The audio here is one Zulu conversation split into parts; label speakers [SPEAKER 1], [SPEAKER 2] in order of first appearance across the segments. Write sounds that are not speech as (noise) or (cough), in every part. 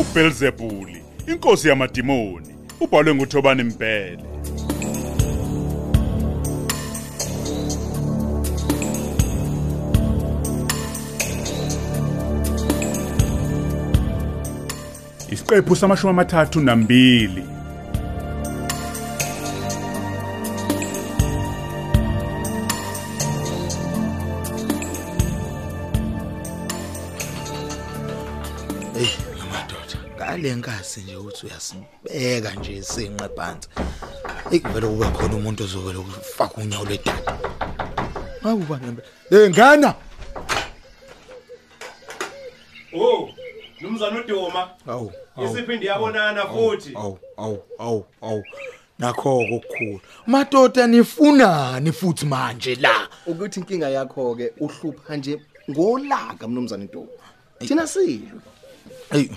[SPEAKER 1] uBelzebuli, inkosi yamadimoni, ubhalwe nguThobani Mbhele. Isiqephu samashumi amathathu nambili.
[SPEAKER 2] Hey madoda, Eh, ngale nkasi nje uthi uyasibeka nje isinqe phansi. Ikuvela kuba khona umuntu ozovela ukufaka unyawo ledada. Awuba ngembe. Hey ngana.
[SPEAKER 3] Oh, Nomzana uDuma,
[SPEAKER 2] Awu.
[SPEAKER 3] isiphindi yabonana futhi.
[SPEAKER 2] Awu, awu, awu, awu. Nakho okukhulu. Madoda nifunani futhi manje la?
[SPEAKER 4] ukuthi inkinga yakho ke uhlupha nje ngolaka mnumzane Ntobo thina silo
[SPEAKER 2] Hey.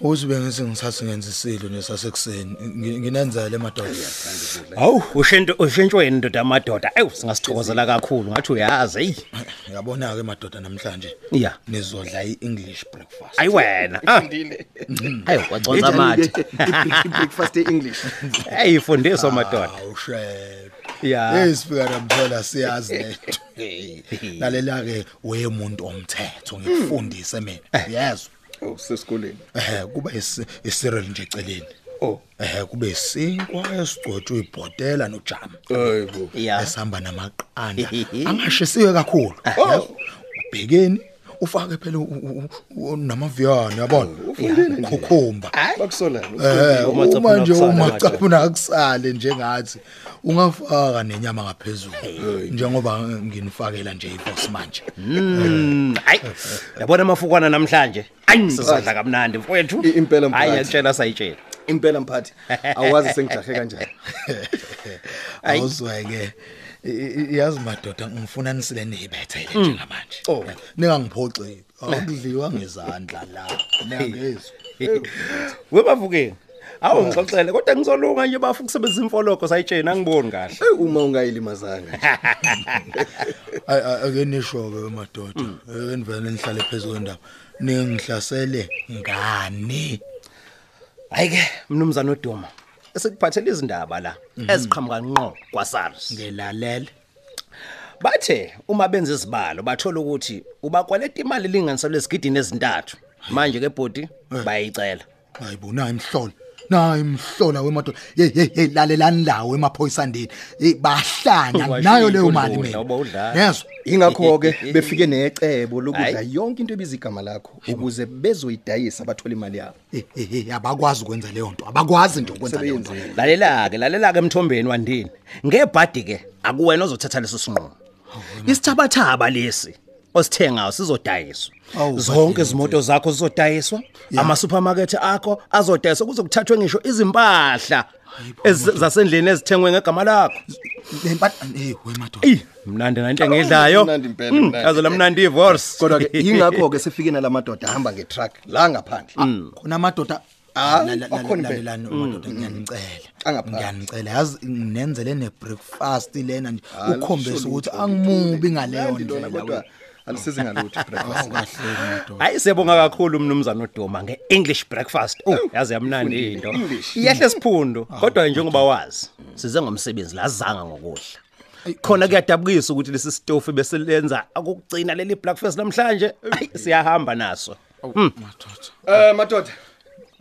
[SPEAKER 2] Uzube ngisengisathi ngenzisilo nesasekuseni. Ngi- Nginanzala madoda.
[SPEAKER 5] Hawu, ushintsho ushintshweni ndoda amadoda. Ewu, singasithokozela kakhulu ngathi uyazi. Hey,
[SPEAKER 2] (clears throat) Yabonaka madoda namhlanje.
[SPEAKER 5] iya.
[SPEAKER 2] Nizodla iEnglish breakfast.
[SPEAKER 5] Ayi wena.
[SPEAKER 4] ndile
[SPEAKER 5] Hayi, kwaconza amathe.
[SPEAKER 4] breakfast english
[SPEAKER 5] Hey, fundiswa madoda.
[SPEAKER 2] Awushela.
[SPEAKER 5] Yeah.
[SPEAKER 2] Esifika namthola siyazi letho. Lalela ke wemuntu omthetho
[SPEAKER 5] Hmm.
[SPEAKER 2] ngikufundise
[SPEAKER 5] Eh.
[SPEAKER 2] mina. Yezwa.
[SPEAKER 4] usesikoleni
[SPEAKER 2] Eh kuba isi- isirel nje eceleni.
[SPEAKER 4] Oh.
[SPEAKER 2] Eh kube isinkwa esigcotshwe ibhotela nojama.
[SPEAKER 4] hayibo
[SPEAKER 5] Yeah.
[SPEAKER 2] Esihamba namaqanda. Angashisiwe kakhulu.
[SPEAKER 5] Oh.
[SPEAKER 2] Yezwa. Ubhekeni ufake phela namaviyana
[SPEAKER 5] Oh.
[SPEAKER 2] yabona. Ukhukhumba.
[SPEAKER 4] bakusolana
[SPEAKER 2] Eh
[SPEAKER 5] Umacaphu
[SPEAKER 2] uma nje
[SPEAKER 5] nakusala,
[SPEAKER 2] umacaphu nakusale njengathi ungafaka nenyama ngaphezulu njengoba nginifakela nje iboss manje
[SPEAKER 5] Mm, hayi. Yabona amafukwana namhlanje. Ayi, sizodla kamnandi mfowethu.
[SPEAKER 4] I- impela mphakathi.
[SPEAKER 5] Hayi, yakutshela sayitshela.
[SPEAKER 4] impela mphathi awazi sengijahe kanjani
[SPEAKER 2] awuzweke i- i- yazi madoda ngifuna nisile nibethele njengamanje ningangiphoxi akudliwa ngezandla la ningezwe
[SPEAKER 5] Webavukeni.
[SPEAKER 4] Oh.
[SPEAKER 5] Hawu ngixoxele kodwa ngizolunga nje bafu kusebenzisa imfoloko sayitshela angiboni kahle.
[SPEAKER 4] Eh, uma ungayilimazanga nje.
[SPEAKER 2] ake nisho ke madoda ake nivele nihlale phezulu kwendaba ningihlasele ngani
[SPEAKER 5] Hayi ke mnumzane uDuma. Esikuphathele izindaba la
[SPEAKER 4] Mhm.
[SPEAKER 5] eziqhamuka ngqo kwaSARS.
[SPEAKER 2] ngilalela
[SPEAKER 5] bathe uma benza izibalo bathola ukuthi ubakwaleta imali linganiso lesigidini ezintathu manje ke bhodi
[SPEAKER 4] Eh.
[SPEAKER 5] bayayicela
[SPEAKER 2] Hayibona imhlola. Nayi imhlola wemadoda. Hey hey hey lalelani lawo emaphoyisandini. Eh bahlanya
[SPEAKER 5] Washiya
[SPEAKER 2] nayo leyo
[SPEAKER 5] inkundla,
[SPEAKER 2] mali mina.
[SPEAKER 5] ngoba udlala.
[SPEAKER 2] Yezwa.
[SPEAKER 4] yingakho ke befike necebo lokudla
[SPEAKER 5] Hayi.
[SPEAKER 4] yonke into ebiza igama lakho ukuze bezoyidayisa abathola imali yabo
[SPEAKER 2] Eh eh hey, abakwazi ukwenza leyo nto. Abakwazi nje ukwenza leyo nto.
[SPEAKER 4] sebeyenzile
[SPEAKER 5] lalela-ke lalela-ke emthombeni wandini ngebhadi-ke akuwena ozothatha leso sinqumo isithabathaba lesi osithengayo sizodayiswa
[SPEAKER 2] Awu,
[SPEAKER 5] zonke izimoto zakho zizodayiswa amasupermarket akho azodayiswa kuze kuthathwe ngisho izimpahla ezi- zasendlini ezithengwe ngegama lakho
[SPEAKER 2] Lempahla hey wemadoda.
[SPEAKER 5] eyi mnandi nanto engidlayo
[SPEAKER 4] Mnandi impela,
[SPEAKER 5] Mm,
[SPEAKER 4] mnandi.
[SPEAKER 5] yazi la mnandi divorce
[SPEAKER 4] kodwa ke yingakho ke sefike nalamadoda ahamba ngetruck la ngaphandle
[SPEAKER 2] Khona amadoda
[SPEAKER 4] Ah,
[SPEAKER 2] la- la- la-
[SPEAKER 4] akhona impela. Mm,
[SPEAKER 2] lalelani wemadoda ngiyanicela.
[SPEAKER 4] Angaphandle.
[SPEAKER 2] Ngiyanicela yazi nginenzele ne breakfast lena nje
[SPEAKER 4] Hhayi,
[SPEAKER 2] ukhombisa
[SPEAKER 4] lusho
[SPEAKER 2] ukuthi
[SPEAKER 4] lutho.
[SPEAKER 2] angimubi ngaleyo
[SPEAKER 4] Mnandi lona,
[SPEAKER 2] ndlela.
[SPEAKER 4] kodwa alisizi ngalutho breakfast
[SPEAKER 2] Awukahle madoda.
[SPEAKER 5] Hayi siyabonga kakhulu mnumzana uDuma ngeEnglish breakfast. Oh, yazi yamnandi into. Iyahle siphundo,
[SPEAKER 4] Ah,
[SPEAKER 5] kodwa njengoba wazi, size ngomsebenzi lazanga ngokudla. Khona kuyadabukisa ukuthi lesi stofu bese lenza akugcina leli breakfast namhlanje. Hayi siyahamba naso.
[SPEAKER 4] Eh madoda.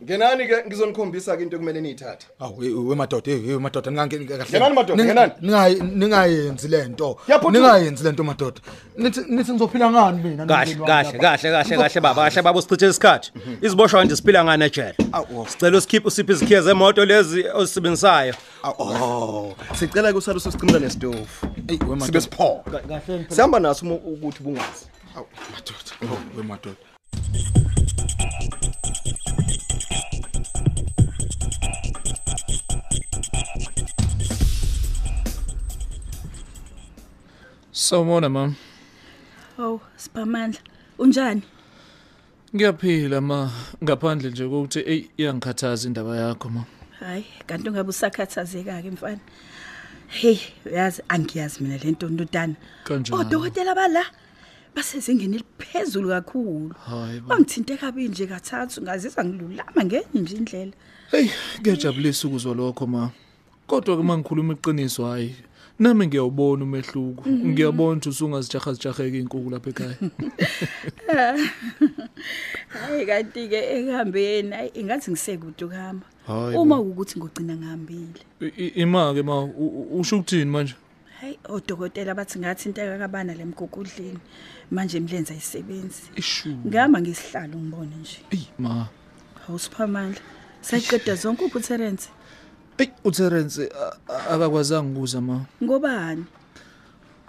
[SPEAKER 4] Ngenani ke ngizonikhombisa ke into ekumele niyithathe.
[SPEAKER 2] Awu hey, wemadoda hey hey, wemadoda ningangeni kahle.
[SPEAKER 4] Ngenani, madoda,
[SPEAKER 2] Ning-
[SPEAKER 4] ngenani?
[SPEAKER 2] Ningayi ningayenzi lento.
[SPEAKER 4] Yaphuthu-
[SPEAKER 2] Ningayenzi lento madoda. Nithi nithi ngizophila ngani mina
[SPEAKER 5] Kahle kahle kahle kahle kahle baba kahle baba usichithe isikhathi.
[SPEAKER 4] Mhm.
[SPEAKER 5] Iziboshwa nje siphila ngane ejele. Sicela usikhiphe usiphe izikhiye zemoto lezi osibenzayo.
[SPEAKER 4] Oh, sicela ke usalo sosicimela nestofu.
[SPEAKER 2] Hey
[SPEAKER 4] Sibe
[SPEAKER 2] wemadoda.
[SPEAKER 4] sipho. Sihamba naso uma ukuthi bungazi.
[SPEAKER 2] Awu madoda. Awu, Wemadoda.
[SPEAKER 6] Sawubona mama.
[SPEAKER 7] Oh, siphamandla. Unjani?
[SPEAKER 6] Ngiyaphila ma ngaphandle nje ukuthi ey iyangikhathaza indaba yakho ma.
[SPEAKER 7] Hayi, kanti ungabe usakhathazeka ke mfana. Hey, uyazi angiyazi mina lento ntudana.
[SPEAKER 6] Kanjani?
[SPEAKER 7] Odokotela bala basezingeni eliphezulu kakhulu
[SPEAKER 6] Hhayi bo.
[SPEAKER 7] bangithinte kabi nje kathathu ngazizwa ngilulama ngenye nje indlela
[SPEAKER 6] Hey, ngiyajabulisa ukuzwa lokho ma. Kodwa ke mangikhuluma iqiniso hayi. Nami ngiyawubona umehluko. Ngiyabona ukuthi usungazijaha zijaheke inkukhu lapha ekhaya.
[SPEAKER 7] hayi kanti-ke ekuhambeni hayi ingathi ngisekude ukuhamba
[SPEAKER 6] Hhayi
[SPEAKER 7] uma kuwukuthi ngogcina ngihambile
[SPEAKER 6] I- i- Ima-ke ma, u- u- usho ukuthini manje?
[SPEAKER 7] hayi odokotela bathi ngathinteka kabana le mgugudleni manje imlenza isebenzi
[SPEAKER 6] Ishu.
[SPEAKER 7] ngihamba ngesihlalo ngibone nje
[SPEAKER 6] Ey ma.
[SPEAKER 7] awusiphamandla sayiqeda zonke ukutherence
[SPEAKER 6] Ey uTerence a- a- akakwazanga ukuza ma.
[SPEAKER 7] ngobani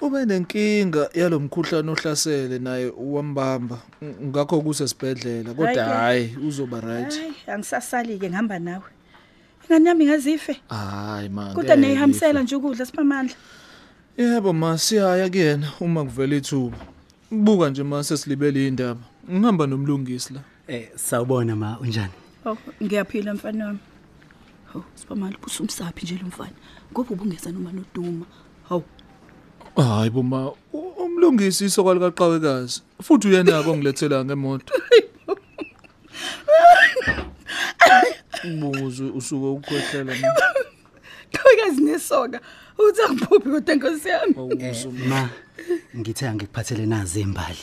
[SPEAKER 6] Ube nenkinga yalomkhuhlane ohlasele naye wambamba. Ng- Ngakho kusesibhedlela kodwa
[SPEAKER 7] Hayi
[SPEAKER 6] hayi uzoba right.
[SPEAKER 7] hayi angisasali-ke ngihamba nawe ingane yami ingazife
[SPEAKER 6] Hayi ma.
[SPEAKER 7] kodwa
[SPEAKER 6] ngeke
[SPEAKER 7] niyihambisela nje ukudla siphamandla
[SPEAKER 6] Yebo ma siyaya kuyena uma kuvela ithuba. Kubuka nje ma sesilibele indaba. Ngihamba nomlungisi la.
[SPEAKER 8] Eh sawubona ma unjani?
[SPEAKER 7] Oh, ngiyaphila mfana wami. Hawu, sibamali busumsaphi nje lo mfana. Ngoba ubungeza noma noduma. Hawu,
[SPEAKER 6] Hayi bo ma u- umlungisi isokwa likaqhawekazi. Futhi uyena ke ongilethela ngemoto. Buzo usuke ukukhwehlela ma.
[SPEAKER 7] qhawekazi nesoka. Uthi angiphuphi kodwa nkosi yami.
[SPEAKER 6] Awuzo ma.
[SPEAKER 8] Ma ngithe angikuphathele nazi imbali.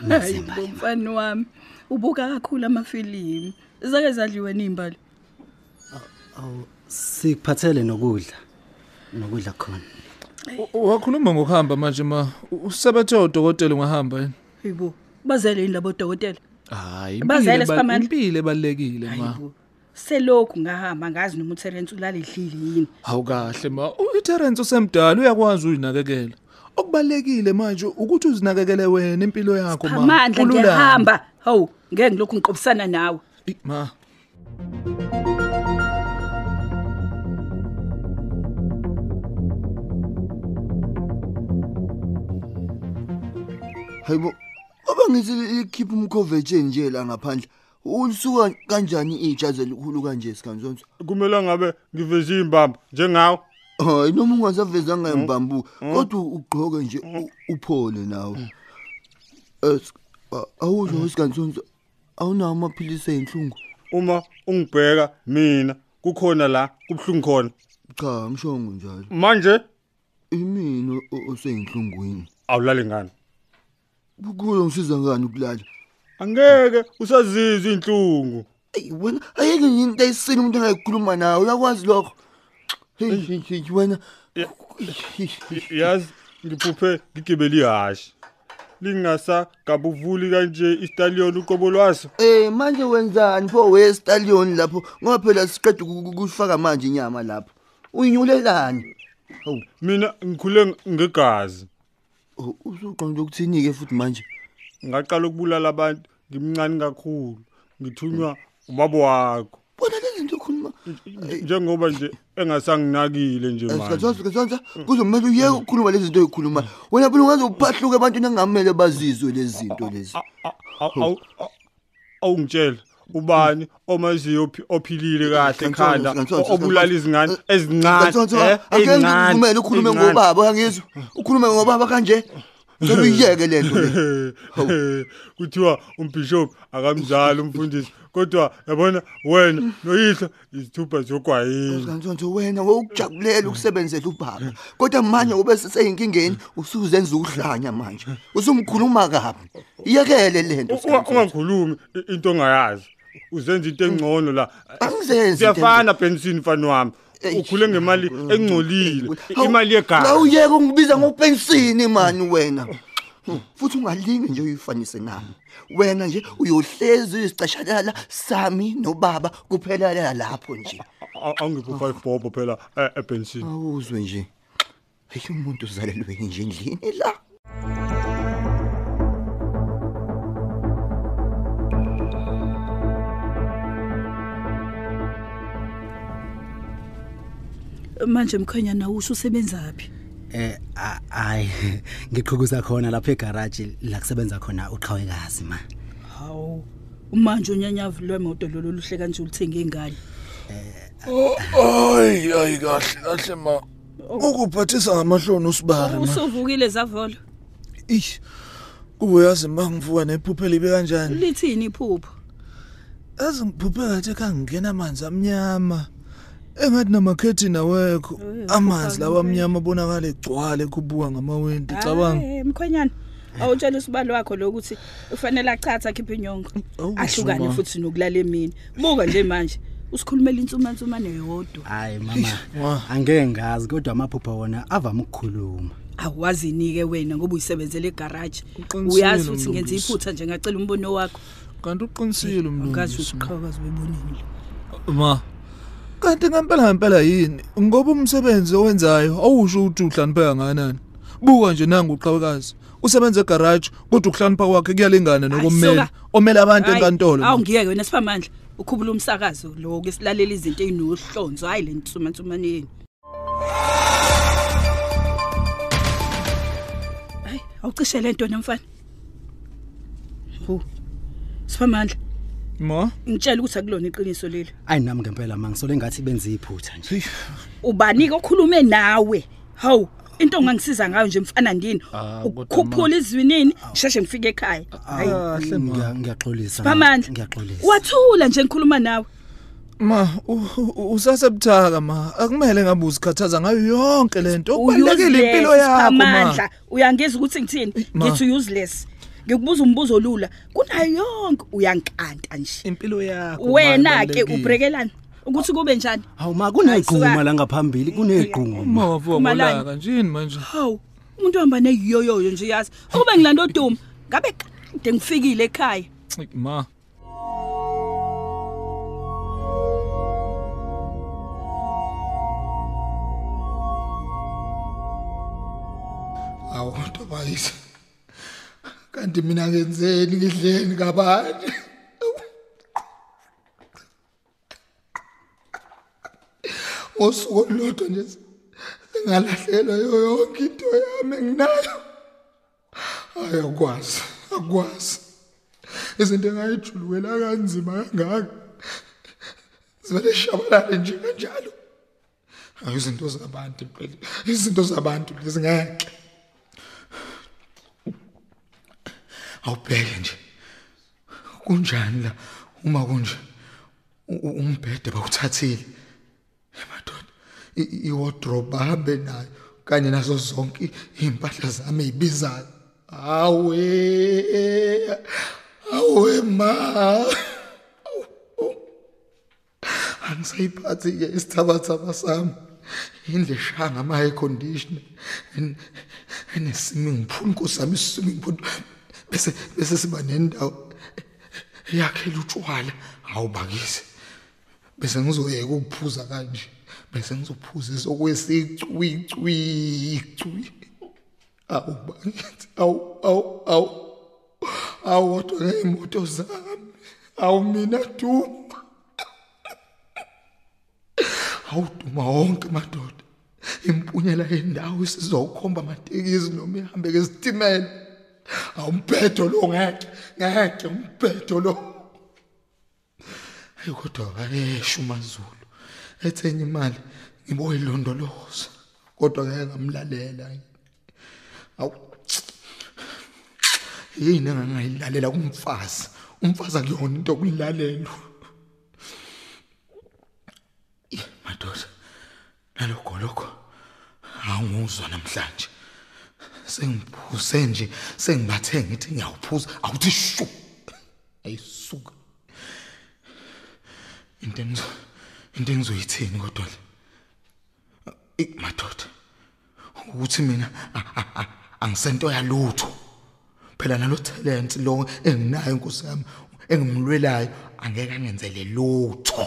[SPEAKER 8] Nazi
[SPEAKER 7] Hayi,
[SPEAKER 8] imbali.
[SPEAKER 7] bomfana wami. Ubuka kakhulu amafilimu. Zake zadliwe nimbali.
[SPEAKER 8] Awu sikuphathele nokudla. Nokudla khona.
[SPEAKER 6] U- Wakhuluma ngokuhamba manje ma. U- Usebethe udokotela ungahamba yini?
[SPEAKER 7] Hayibo, bazele indaba odokotela.
[SPEAKER 6] Hayi
[SPEAKER 7] Bazele
[SPEAKER 6] impilo eba-
[SPEAKER 7] siphamandla.
[SPEAKER 6] impilo ebalekile ma.
[SPEAKER 7] Hayibo. Selokhu ngahamba ngazi noma uTerence ulale dlile yini.
[SPEAKER 6] Awukahle ma uTerence usemdala uyakwazi uyinakekela. Okubalekile manje ukuthi uzinakekele wena impilo yakho ma.
[SPEAKER 7] Amandla
[SPEAKER 6] Ululame.
[SPEAKER 7] ngiyahamba. Hawu, ngeke ngilokhu ngiqobisana nawe.
[SPEAKER 6] Eh, Ma.
[SPEAKER 9] Hayibo, aba ngithi likhipha umkhoveje nje la ngaphandle. Ulisuka kanjani ijazi elikhulu kanje sikhanzonzo?
[SPEAKER 1] kumele ngabe ngiveze imbamba njengawo
[SPEAKER 9] Hayi noma ungasavezanga ngembambu, kodwa ugqoke nje u- uphole nawe. Es awuzwa isikhanzonzo awunawo amaphilisi enhlungu.
[SPEAKER 1] uma ungibheka mina kukhona la kubhlungu khona
[SPEAKER 9] Cha, ngishongo njalo.
[SPEAKER 5] Hmm.
[SPEAKER 1] manje
[SPEAKER 9] Imini osenhlungwini.
[SPEAKER 1] awulali ngani
[SPEAKER 9] Kuyo ngisiza ngani ukulala?
[SPEAKER 1] angeke usazizwe inhlungu
[SPEAKER 9] Ey wena ayeke yini into ayisini umuntu engayikhuluma nawe uyakwazi lokho. Hey, hey, hey, wena
[SPEAKER 1] yazi ngiphuphe ngigibele ihashi lingasagabuvuli kanje istallion uqobo lwaso
[SPEAKER 9] Eh manje wenzani pho westallion lapho ngoba phela siqeda ukufaka manje inyama lapho uyinyulelani
[SPEAKER 1] mina ngikhule ng- ngegazi
[SPEAKER 9] Oh, usuqonde ukuthini ke futhi manje
[SPEAKER 1] ngaqala ukubulala abantu ngimncane kakhulu ngithunywa ubaba wakho
[SPEAKER 9] bona lezi zinto eh, khuluma
[SPEAKER 1] njengoba nje engasanginakile nje manje
[SPEAKER 9] sikhathazi sikhathazi kuzomela uyeke ukukhuluma lezi zinto ezikhuluma wena phela ungaze uphahluke ebantwini engamele bazizwe lezi zinto lezi
[SPEAKER 1] A- a- awu- a- awungitshela ubani omaziyo ophi- ophilile kahle ekhanda
[SPEAKER 9] Ngantsontsho,
[SPEAKER 1] o- obulala izingane ezincane
[SPEAKER 9] Ngantsontsho,
[SPEAKER 1] eh,
[SPEAKER 9] angeke
[SPEAKER 1] ey'ncane,
[SPEAKER 9] ngivumele ukhulume
[SPEAKER 1] ey'ncane.
[SPEAKER 9] ngobaba uyangizwa ukhulume ngobaba kanje ngicela uyiyeke le nto le
[SPEAKER 1] (laughs) kuthiwa umbhishophu akamzali umfundisi kodwa yabona wena noyihlo izithupha zogwayini
[SPEAKER 9] Ngantsontsho wena wowukujabulela ukusebenzela ubaba. Kodwa manje ube seseyinkingeni usuzenza uhlanya manje. Usumkhuluma kabi. Iyekele lento.
[SPEAKER 1] Unga- ungakhulumi i- into ongayazi uzenza into engcono la
[SPEAKER 9] Angizenzi into
[SPEAKER 1] siyafana bensini mfani wami ukhule ngemali engcolile
[SPEAKER 9] eh,
[SPEAKER 1] imali
[SPEAKER 9] La
[SPEAKER 1] yegala
[SPEAKER 9] uyeke ungibiza ngopensini mani wena. Hmm, Futhi ungalingi nje uyifanise nami. Wena nje uyohlezi isicashalala sami nobaba kuphela la lapho nje.
[SPEAKER 1] angipho 5 bobo phela eh, ebensini
[SPEAKER 9] Awuzwe nje. Hey umuntu uzalelwe nje endlini la.
[SPEAKER 7] Manje mkhwenyana usho usebenzaphi?
[SPEAKER 8] Eh a- ayi (laughs) ngiqhukuza khona lapha egarage la kusebenza khona uqhawekazi ma.
[SPEAKER 7] Hawu. Manje unyanyavu lwemoto lolu luhle kanje ulithenga ingane.
[SPEAKER 6] Hayi, hayi kahle kahle ma. Ukuphathisa ngamahloni usibari ma.
[SPEAKER 7] Usuvukile zavolo.
[SPEAKER 6] Ish. uyazi mangivuka nephuphe libe kanjani
[SPEAKER 7] lithini iphupho
[SPEAKER 6] aze ngiphuphe ngathi khangingena amanzi amnyama engathi namakhethini awekho amanzi lawa amnyama abonakala egcwala ekhubuka ngamawindi cabanga
[SPEAKER 7] Hhayi, mkhwenyana awutshela usibalo wakho lokuthi ufanele achatha akhiphe inyongo
[SPEAKER 6] Awu,
[SPEAKER 7] ahlukane
[SPEAKER 6] Zuma.
[SPEAKER 7] futhi nokulala emini buka nje manje usikhulumela insumansumane yodwa
[SPEAKER 8] hayi mama angeke ngazi kodwa amaphupho wona avame ukukhuluma
[SPEAKER 7] awazini-ke wena ngoba uyisebenzele egaraji
[SPEAKER 6] Uqinisile
[SPEAKER 7] uyazi ukuthi
[SPEAKER 6] lo
[SPEAKER 7] ngenza
[SPEAKER 6] Mlungisi.
[SPEAKER 7] iphutha nje ngacela umbono wakho
[SPEAKER 6] kanti uqinisile
[SPEAKER 7] umlungazi usiqhakazi bebonini
[SPEAKER 6] ma kanti ngempela ngempela yini ngoba umsebenzi owenzayo awusho ukuthi uhlanipheka nganani buka nje nangu uqhawekazi usebenza egaraji kodwa ukuhlanipha kwakhe kuyalingana nokumele
[SPEAKER 7] suka.
[SPEAKER 6] omele abantu
[SPEAKER 7] Hhayi,
[SPEAKER 6] enkantolo
[SPEAKER 7] awu ngiyeke wena siphamandla ukhubula umsakazo lo-ke silalela izinto ey'nohlonzo hhayi le nsumansumane yenu hayi awucishe le nto namfana hu siphamandla
[SPEAKER 6] ma
[SPEAKER 7] ngitshela ukuthi akulona iqiniso leli
[SPEAKER 8] ayi nami ngempela mama ngisole ngathi benze iphutha nje
[SPEAKER 7] ubani-ke okhulume nawe hawu into ongangisiza ngayo nje mfana ndini
[SPEAKER 8] Ah, kodwa
[SPEAKER 7] ukukhuphula izwinini ngisheshe ngifike ekhaya Hhayi,
[SPEAKER 8] ahle mm, ngiya
[SPEAKER 6] Ah,
[SPEAKER 8] ngiyaxolisa mama.
[SPEAKER 7] siphamandla
[SPEAKER 8] ngiyaxolisa
[SPEAKER 7] wathula nje ngikhuluma nawe
[SPEAKER 6] ma u- u- usasebuthaka ma akumele ngabe uzikhathaza ngayo yonke le nto
[SPEAKER 7] useless,
[SPEAKER 6] kubalulekile impilo yakho ma Eh,
[SPEAKER 7] Siphamandla. uyangiza ukuthi ngithini
[SPEAKER 6] ma.
[SPEAKER 7] ngithi useless ngikubuza umbuzo olula kunayo yonke uyankanta nje
[SPEAKER 6] impilo yakho ma,
[SPEAKER 7] wena-ke
[SPEAKER 6] ibalulekile.
[SPEAKER 7] ubrekelani ukuthi kube njani
[SPEAKER 8] hawu ma kuneqhuma la ngaphambili kuneqhuma
[SPEAKER 6] ma wavuka
[SPEAKER 7] Khumalani.
[SPEAKER 6] ngolaka njeini manje
[SPEAKER 7] hawu umuntu ohamba neyoyoyo nje yazi ukube ngilanda oduma ngabe kade ngifikile ekhaya
[SPEAKER 6] Cik, ma
[SPEAKER 2] awu ntobayise kanti mina ngenzeni ngidleni kabani usuku olulodwa nje singalahlelwa yoyonke into yami enginayo hayi akwazi akwazi izinto engayijuluwela kanzima kangaka zivele shabalale nje kanjalo hayi izinto zabantu impela izinto zabantu lezi ngeke awubheke nje kunjani la uma kunje U- u- umbhede bawuthathile emadoda iwardrobe ahambe nayo kanye nazo zonke iy'mpahla zami ey'bizayo awe awe ma Awu, awu. angisayiphathi-ke isithabathaba sami indleshanga ama-air conditioner En- ene-swimming pool nkosi yami i-swimming pool bese bese siba nendawo yakhela utshwala awubakise bese ngizoyeka ukuphuza kanje bese ngizophuza esokwesicwicwicwi awubakithi awu awu awu awu kodwa ngey'moto zami awu mina duma awuduma wonke madoda impunyela yendawo isizokhomba amatekisi noma ihambe ngezitimela awumbhedo lo ngeke ngeke umbhedo lo hayi kodwa akesho umazulu ethenye imali ngiboyilondoloza kodwa ngeke ngamlalela awu yini engangayilalela kumfazi umfazi akuyona into okulalelwa madoda nalokho lokho anguzwa namhlanje sengiphuze nje sengibathe ngithi ngiyawuphuza awuthi shu ayisuka into engizo- into engizoyithini kodwa le Eh, madoda ukuthi mina a- a- a- angisento yalutho phela nalo talent lo enginayo inkosi yami engimlwelayo angeke angenzele lutho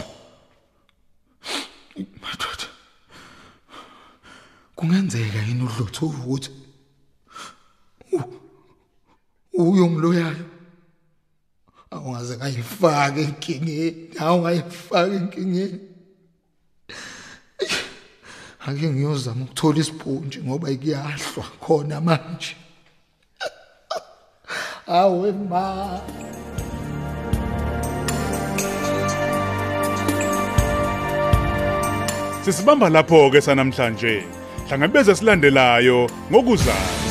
[SPEAKER 2] Eh, madoda kungenzeka yini udlutho ukuthi uyongiloyayo awungaze ngayifaka enkingeni awungayifaka enkingeni ake ngiyozama ukuthola isibhunji ngoba ikuyahlwa khona manje awe ma
[SPEAKER 10] sisibamba lapho-ke sanamhlanje hlangabeze silandelayo ngokuzayo